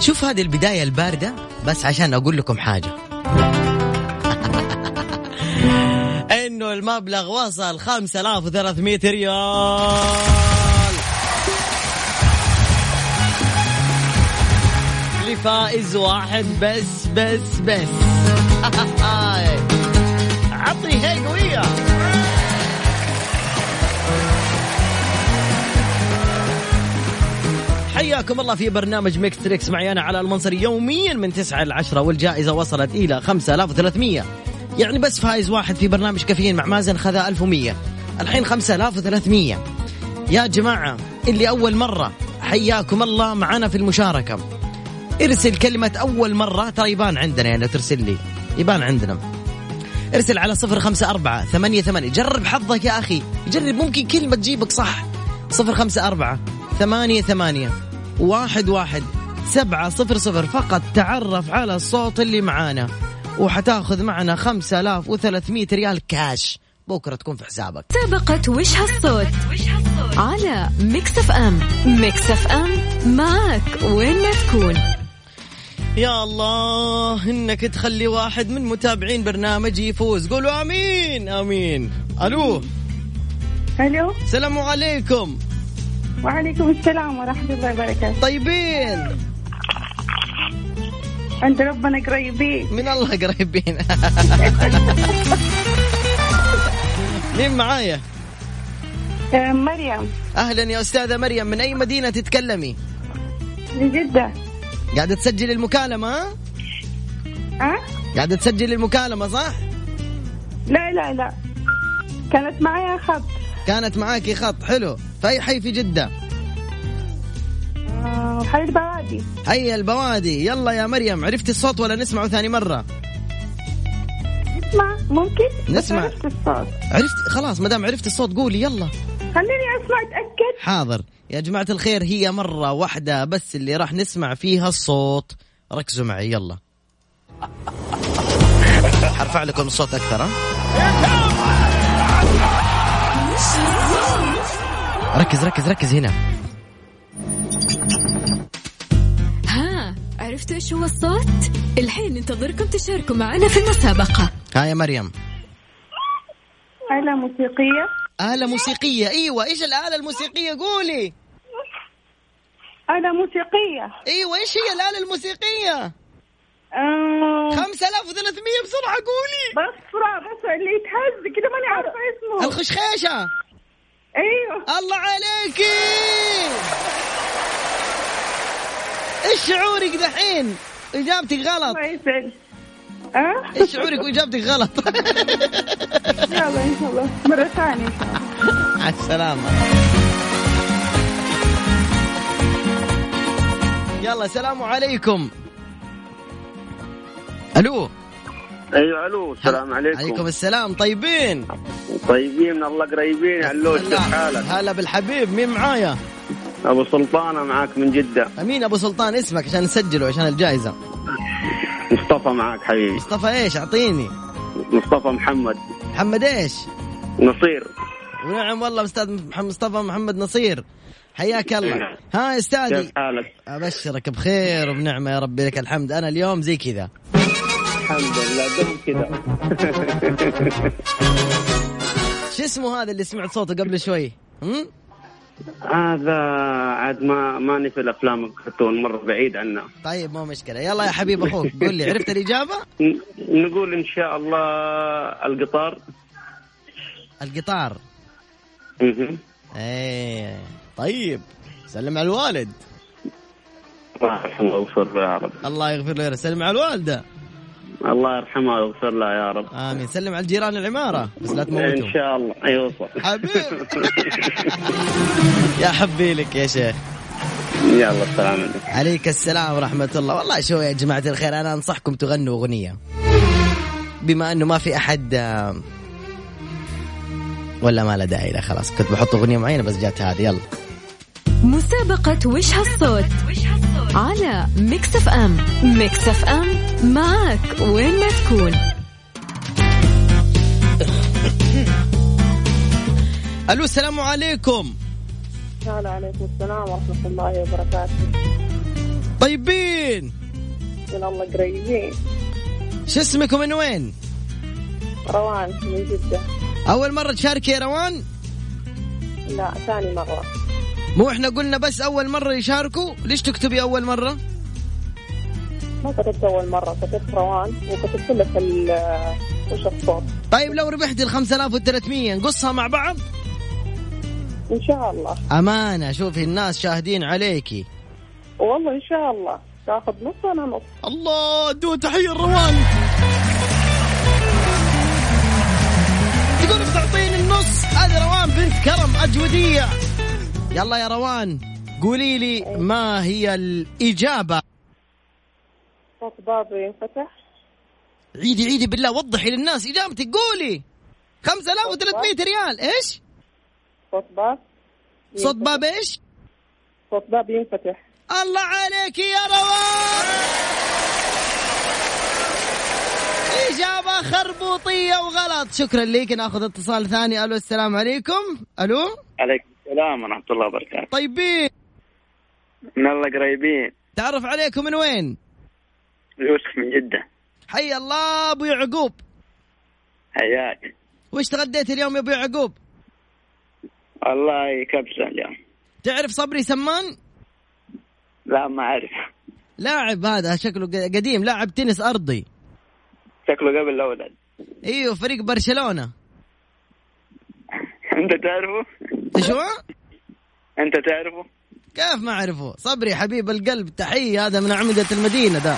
شوف هذه البداية الباردة بس عشان أقول لكم حاجة إنه المبلغ وصل 5300 ريال لفائز واحد بس بس بس عطني هي قوية حياكم الله في برنامج ميكس تريكس معيانا على المنصري يوميا من 9 ل 10 والجائزة وصلت إلى 5300 يعني بس فايز واحد في برنامج كافيين مع مازن خذ 1100 الحين 5300 يا جماعة اللي أول مرة حياكم الله معنا في المشاركة ارسل كلمة أول مرة ترى يبان عندنا يعني لو ترسل لي يبان عندنا ارسل على صفر خمسة أربعة ثمانية ثمانية جرب حظك يا أخي جرب ممكن كلمة تجيبك صح صفر خمسة أربعة ثمانية ثمانية واحد واحد سبعة صفر صفر فقط تعرف على الصوت اللي معانا وحتاخذ معنا خمسة آلاف وثلاثمية ريال كاش بكرة تكون في حسابك مسابقة وش هالصوت على ميكس اف ام ميكس اف ام معك وين ما تكون يا الله انك تخلي واحد من متابعين برنامجي يفوز قولوا امين امين الو الو السلام عليكم وعليكم السلام ورحمه الله وبركاته طيبين عند ربنا قريبين من الله قريبين مين معايا آه، مريم اهلا يا استاذه مريم من اي مدينه تتكلمي من جدة قاعده تسجل المكالمه ها؟ ها قاعده تسجل المكالمه صح لا لا لا كانت معايا خط كانت معاكي خط حلو في اي حي في جده آه، حي البوادي هيا البوادي يلا يا مريم عرفتي الصوت ولا نسمعه ثاني مره نسمع ممكن بس نسمع. عرفت الصوت عرفت خلاص ما دام عرفت الصوت قولي يلا خليني اسمع اتاكد حاضر يا جماعة الخير هي مرة واحدة بس اللي راح نسمع فيها الصوت ركزوا معي يلا حرفع لكم الصوت أكثر ها ركز ركز ركز هنا ها عرفتوا ايش هو الصوت الحين ننتظركم تشاركوا معنا في المسابقة ها يا مريم آلة موسيقية آلة موسيقية أيوة إيش الآلة الموسيقية قولي آلة موسيقية أيوة إيش هي الآلة الموسيقية آه 5300 بسرعة قولي بصرة بس اللي يتهز كده ماني عارفة اسمه الخشخيشة ايوه الله عليك ايش شعورك دحين اجابتك غلط الله آه؟ يسعد ها ايش شعورك واجابتك غلط يلا ان شاء الله مرة ثانية إن شاء الله. مع السلامه يلا سلام عليكم الو ايوه الو السلام عليكم عليكم السلام طيبين طيبين من الله قريبين يا علوش كيف حالك؟ هلا بالحبيب مين معايا ابو سلطانه معاك من جده امين ابو سلطان اسمك عشان نسجله عشان الجائزه مصطفى معاك حبيبي مصطفى ايش اعطيني مصطفى محمد محمد ايش نصير ونعم نعم والله استاذ مح- مصطفى محمد نصير حياك نعم. الله ها استاذي كيف حالك؟ ابشرك بخير وبنعمه يا ربي لك الحمد انا اليوم زي كذا الحمد لله دم كذا شو اسمه هذا اللي سمعت صوته قبل شوي هم؟ هذا عاد ما ماني في الافلام الكرتون مره بعيد عنا طيب مو مشكله يلا يا حبيب اخوك قول لي عرفت الاجابه ن- نقول ان شاء الله القطار القطار مهم. ايه طيب سلم على الوالد الله يرحمه ويغفر له يا رب الله يغفر له سلم على الوالده الله يرحمه ويغفر له يا رب امين سلم على الجيران العماره بس لا أه. ان تموتهم شاء الله أيوة، يوصل حبيب يا حبي لك يا شيخ يلا السلام عليكم عليك السلام ورحمة الله والله شو يا جماعة الخير أنا أنصحكم تغنوا أغنية بما أنه ما في أحد آم، ولا ما له داعي لا خلاص كنت بحط أغنية معينة بس جات هذه يلا مسابقة وش هالصوت على ميكس اف ام ميكس اف ام معك وين ما تكون ألو السلام عليكم السلام عليكم السلام ورحمة الله وبركاته طيبين من الله قريبين شو اسمك ومن وين؟ روان من جدة أول مرة تشاركي يا روان؟ لا ثاني مرة مو احنا قلنا بس أول مرة يشاركوا؟ ليش تكتبي أول مرة؟ ما كتبت أول مرة كتبت روان وكتبت لك ال وش الصوت طيب لو ربحتي ال 5300 نقصها مع بعض؟ إن شاء الله أمانة شوفي الناس شاهدين عليكي والله إن شاء الله تاخذ نص وأنا نص الله دو تحية الروان تقول بتعطيني النص هذه روان بنت كرم أجودية يلا يا روان قولي لي ما هي الإجابة صوت بابي ينفتح عيدي عيدي بالله وضحي للناس إجابتك قولي 5300 ريال إيش صوت باب صوت باب إيش صوت باب ينفتح الله عليك يا روان إجابة خربوطية وغلط شكرا لك ناخذ اتصال ثاني ألو السلام عليكم ألو عليكم السلام ورحمه الله وبركاته طيبين من الله قريبين تعرف عليكم من وين يوسف من جده حي الله أبو يعقوب حياك وش تغديت اليوم يا أبو يعقوب والله كبسه اليوم تعرف صبري سمان لا ما اعرف لاعب هذا شكله ق- قديم لاعب تنس أرضي شكله قبل الاولاد ايوه فريق برشلونة انت تعرفه شو انت تعرفه كيف ما اعرفه صبري حبيب القلب تحية هذا من أعمدة المدينة ده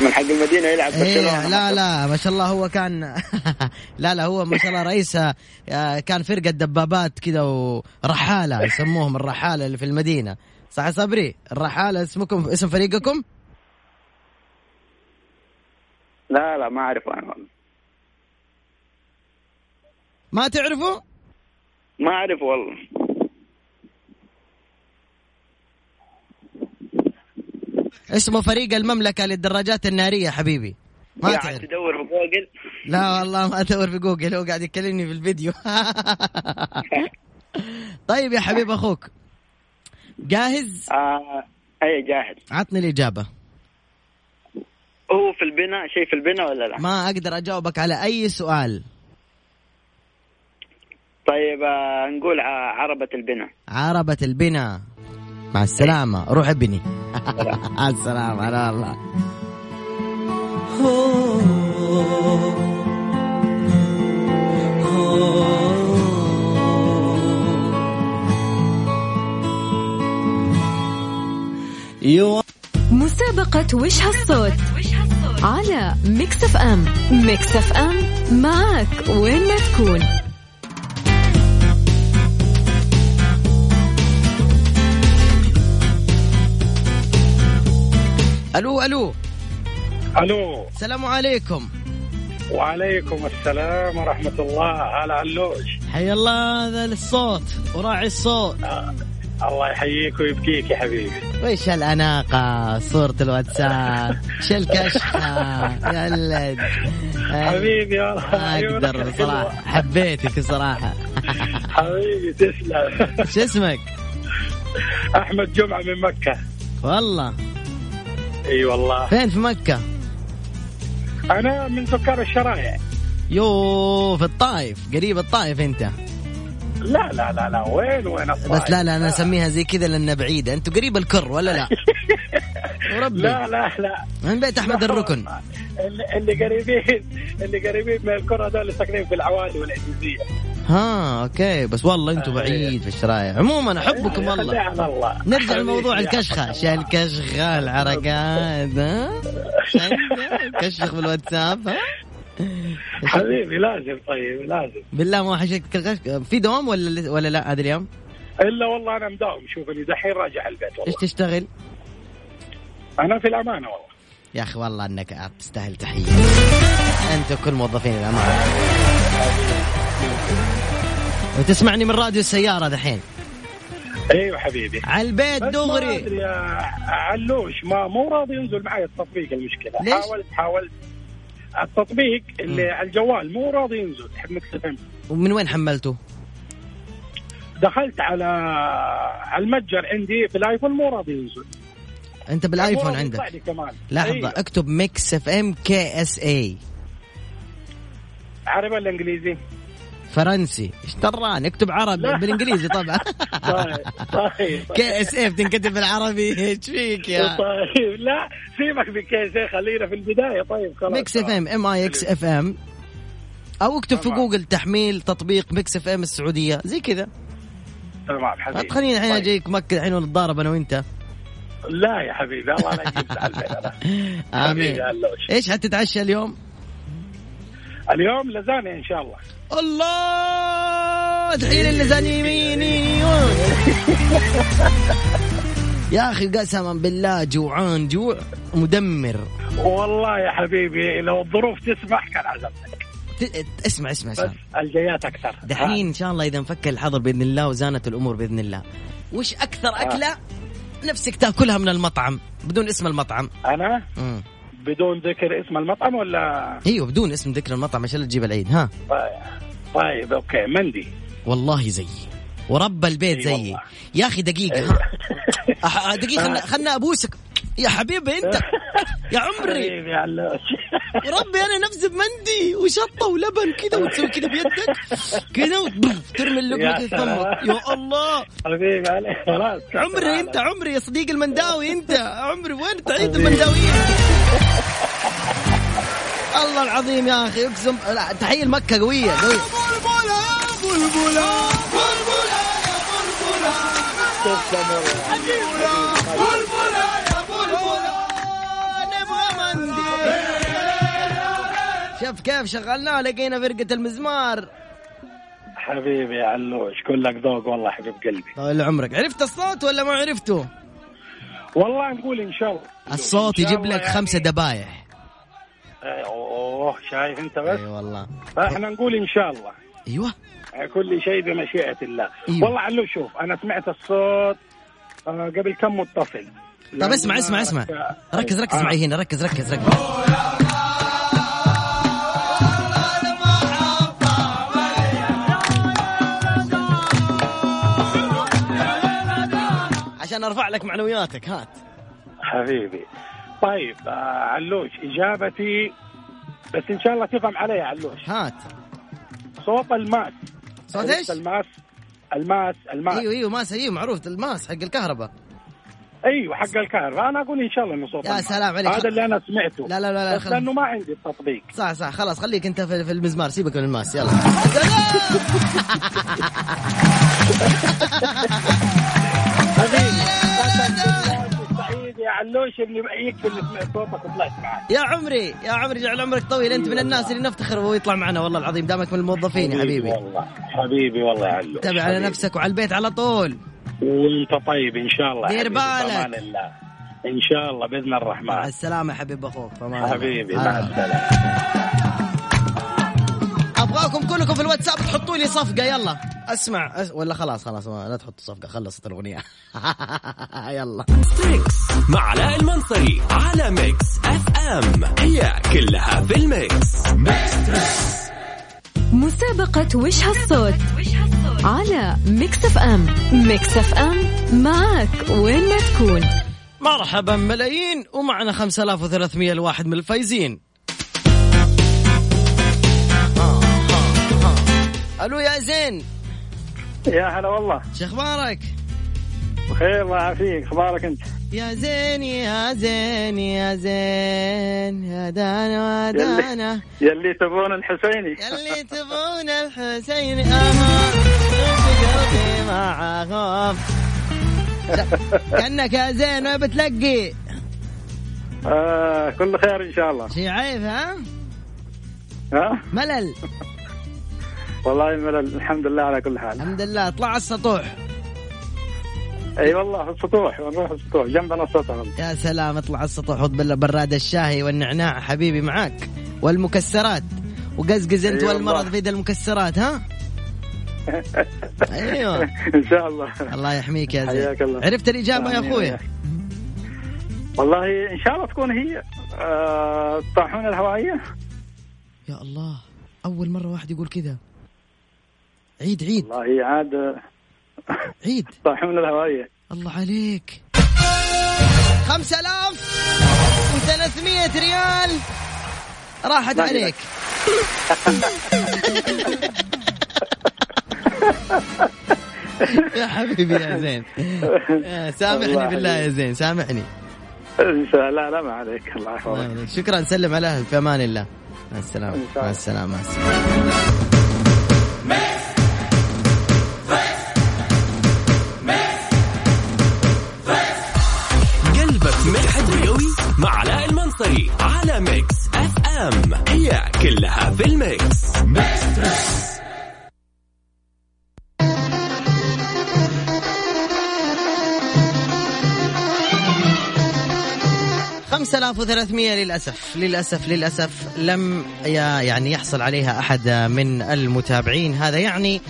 من حق المدينه يلعب ايه برشلونه لا لا ما شاء الله هو كان لا لا هو ما شاء الله رئيس آه، كان فرقة دبابات كذا ورحالة يسموهم الرحالة اللي في المدينة صح يا صبري الرحالة اسمكم اسم فريقكم لا لا ما اعرفه انا والله ما تعرفوا ما اعرفه والله اسمه فريق المملكة للدراجات النارية حبيبي ما قاعد تعرف تدور في جوجل لا والله ما ادور في جوجل هو قاعد يكلمني في الفيديو طيب يا حبيب اخوك جاهز آه اي جاهز عطني الاجابه هو في البناء شيء في البناء ولا لا؟ ما اقدر اجاوبك على اي سؤال طيب آه نقول ع- عربة البناء عربة البنا مع السلامة روح ابني مع السلامة على الله يو مسابقة وش هالصوت على ميكس اف ام ميكس اف ام معك وين ما تكون الو الو الو السلام عليكم وعليكم السلام ورحمه الله هلا علوش حي الله هذا الصوت وراعي الصوت آه، الله يحييك ويبكيك يا حبيبي وش الأناقة صورة الواتساب شو الكشخة يا ولد حبيبي والله ما عيونك أقدر الحلوة. صراحة حبيتك الصراحة حبيبي تسلم شو اسمك احمد جمعه من مكه والله اي والله فين في مكة انا من سكان الشرايع يو في الطايف قريب الطايف أنت لا لا لا لا وين وين الطائف؟ بس لا لا أنا أسميها زي كذا لأنها بعيدة أنتوا قريب الكر ولا لا لا وربي لا لا من بيت أحمد الركن اللي, اللي قريبين اللي قريبين من الكره هذول ساكنين في العوالي والعزيزيه ها أوكي بس والله أنتوا أيوة. بعيد في الشرايع عموما أحبكم خليها والله على الله نرجع لموضوع حبيبي يا الكشخة شو الكشخة العرقات ها كشخ بالواتساب ها حبيبي لازم طيب لازم بالله ما وحشتك الكشخ في دوام ولا لس- ولا لا هذا اليوم الا والله انا مداوم شوف اللي دحين راجع البيت ايش والله تشتغل انا في الامانه والله يا اخي والله انك تستاهل تحيه انت كل موظفين الامانه وتسمعني من راديو السياره دحين ايوه حبيبي على البيت بس ما دغري ادري يا علوش ما مو راضي ينزل معي التطبيق المشكله ليش؟ حاولت حاولت التطبيق اللي مم. على الجوال مو راضي ينزل حق مكس اف ام ومن وين حملته دخلت على على المتجر عندي في الايفون مو راضي ينزل انت مو بالايفون راضي يطلع عندك لي كمان لحظه أيوه. اكتب ميكس اف ام كي إيه. اس اي عربي ولا انجليزي؟ فرنسي ايش دران اكتب عربي لا. بالانجليزي طبعا طيب طيب كي اس اي بتنكتب بالعربي ايش فيك يا طيب لا سيبك من كيس خلينا في البدايه طيب خلاص ميكس اف ام ام اي اكس اف ام او اكتب في طبعا. جوجل تحميل تطبيق ميكس اف ام السعوديه زي كذا تمام حبيبي خلينا الحين طيب. اجيك مكه الحين ونتضارب انا وانت لا يا حبيبي الله لا يجيب على البيت أنا. امين حبيبي، علوش. ايش حتتعشى اليوم؟ اليوم لازانيا ان شاء الله الله تحية اللزانيمينيون يا اخي قسما بالله جوعان جوع مدمر والله يا حبيبي لو الظروف تسمح كان عزمتك ت- اسمع اسمع بس آه. اسمع الجيات اكثر دحين ان شاء الله اذا نفك الحظر باذن الله وزانت الامور باذن الله وش اكثر آه. اكله نفسك تاكلها من المطعم بدون اسم المطعم ها. انا مم. بدون ذكر اسم المطعم ولا ايوه بدون اسم ذكر المطعم عشان لا تجيب العيد ها طيب, طيب اوكي مندي والله زيي ورب البيت أي زيي والله. يا اخي دقيقة ها أح- دقيقة خلنا خلنا ابوسك يا حبيبي انت يا عمري حبيبي علوش وربي انا نفسي بمندي وشطة ولبن كذا وتسوي كذا بيدك كذا وبف، ترمي اللقمة يا تتثمر سلام. يا الله حبيبي عليك خلاص عمري انت عمري يا صديق المنداوي انت عمري وين تعيد المنداويين الله العظيم يا اخي اقسم لا، تحيه مكه قويه قويه شوف كيف شغلناه لقينا فرقة المزمار حبيبي علوش كلك ذوق والله حبيب قلبي طول عمرك عرفت الصوت ولا ما عرفته؟ والله نقول ان شاء الله الصوت إن شاء يجيب الله لك خمسة دبايح يعني. اوه شايف انت بس اي والله فاحنا نقول ان شاء الله ايوه كل شيء بمشيئه الله إيوه. والله علو شوف انا سمعت الصوت آه، قبل كم متصل طب طيب، اسمع اسمع اسمع ركز آه. ركز معي هنا ركز ركز ركز عشان ارفع لك معنوياتك هات حبيبي طيب آه، علوش اجابتي بس ان شاء الله تفهم علي يا علوش هات صوت الماس صوت ايش؟ الماس الماس الماس ايوه ايوه ماس ايوه معروف الماس حق الكهرباء ايوه حق الكهرباء انا اقول ان شاء الله انه صوت يا الماس. سلام عليك. هذا اللي انا سمعته لا لا لا لا بس خل- لانه ما عندي التطبيق صح صح خلاص خليك انت في في المزمار سيبك من الماس يلا حبيبي سعيد يا علوش ابني بايك اللي سمعت صوتك وطلعت معك يا عمري يا عمري جعل عمرك طويل انت من الناس اللي نفتخر وهو يطلع معنا والله العظيم دامك من الموظفين يا حبيبي والله حبيبي والله يا علوش تابع على حبيبي. نفسك وعلى البيت على طول وانت طيب ان شاء الله دير حبيبي، بالك. بامان الله ان شاء الله باذن مع الرحمن السلامة حبيب أخوك فما عليك. حبيبي آه. مع السلامه أبغاكم كلكم في الواتساب تحطوا لي صفقة يلا أسمع أس... ولا خلاص خلاص ما لا تحطوا صفقة خلصت الأغنية يلا مستريكس مع علاء المنصري على ميكس اف ام هي كلها في الميكس مسابقة وش هالصوت على ميكس اف ام ميكس اف ام معك وين ما تكون مرحبا ملايين ومعنا 5300 الواحد من الفايزين آه، آه، آه. الو يا زين يا هلا والله شو اخبارك؟ بخير الله يعافيك اخبارك انت يا زين يا زين يا زين يا دانا يا يلي. دانا يلي تبون الحسيني اللي تبون الحسين آه، امان وبقلبي مع خوف كانك يا زين ما بتلقي آه كل خير ان شاء الله شي عيب ها ها ملل والله الملل الحمد لله على كل حال الحمد لله اطلع على السطوح اي والله في السطوح ونروح السطوح جنبنا السطح يا سلام اطلع على السطوح حط بال- براد الشاهي والنعناع حبيبي معاك والمكسرات وقزقز انت أيوة والمرض والله. في يد المكسرات ها ايوه ان شاء الله الله يحميك يا حياك زين الله. عرفت الاجابه يا آمين اخوي يا أخي. والله ان شاء الله تكون هي آه، الطاحونه الهوائيه يا الله اول مره واحد يقول كذا عيد عيد والله عاد عيد طاحونة الهوائية الله عليك 5300 ريال راحت عليك يا حبيبي يا زين يا سامحني الله بالله يا يحييك. زين سامحني إن شاء الله لا ما عليك الله الله يحفظك يحفظك. شكرا سلم على الاهل في امان الله مع السلامه إن مع شاء الله. السلامه مع السلامه قلبك متحدر قوي مع علاء المنصري على ميكس اف ام هي كلها في الميكس خمسة آلاف وثلاثمية للأسف للأسف للأسف لم ي- يعني يحصل عليها أحد من المتابعين هذا يعني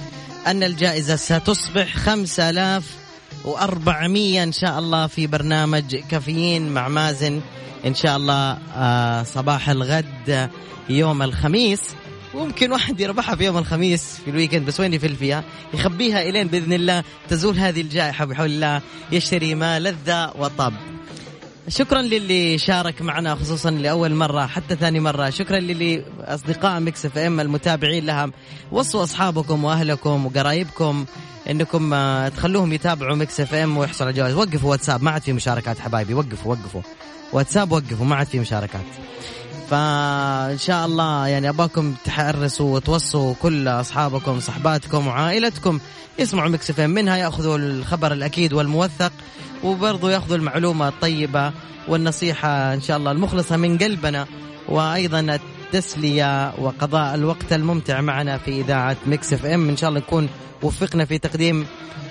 أن الجائزة ستصبح خمسة آلاف وأربعمية إن شاء الله في برنامج كافيين مع مازن إن شاء الله آه، صباح الغد يوم الخميس ممكن واحد يربحها في يوم الخميس في الويكند بس وين يفل فيها يخبيها إلين بإذن الله تزول هذه الجائحة بحول الله يشتري ما لذ وطب شكرا للي شارك معنا خصوصا لاول مره حتى ثاني مره شكرا للي اصدقاء مكس اف ام المتابعين لها وصوا اصحابكم واهلكم وقرايبكم انكم آه، تخلوهم يتابعوا مكس اف ام ويحصل على جوائز وقفوا واتساب ما عاد في مشاركات حبايبي وقفوا وقفوا واتساب وقفوا ما عاد في مشاركات فان شاء الله يعني اباكم تحرصوا وتوصوا كل اصحابكم صحباتكم وعائلتكم يسمعوا مكس اف ام منها ياخذوا الخبر الاكيد والموثق وبرضه ياخذوا المعلومه الطيبه والنصيحه ان شاء الله المخلصه من قلبنا وايضا التسليه وقضاء الوقت الممتع معنا في اذاعه مكس اف ام ان شاء الله نكون وفقنا في تقديم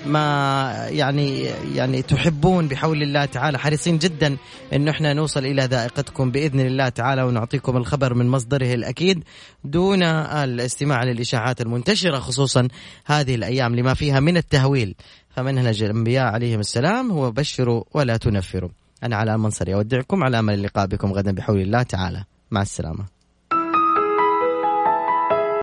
ما يعني يعني تحبون بحول الله تعالى حريصين جدا انه احنا نوصل الى ذائقتكم باذن الله تعالى ونعطيكم الخبر من مصدره الاكيد دون الاستماع للاشاعات المنتشره خصوصا هذه الايام لما فيها من التهويل فمنهج الانبياء عليهم السلام هو بشروا ولا تنفروا انا على المنصري اودعكم على امل اللقاء بكم غدا بحول الله تعالى مع السلامه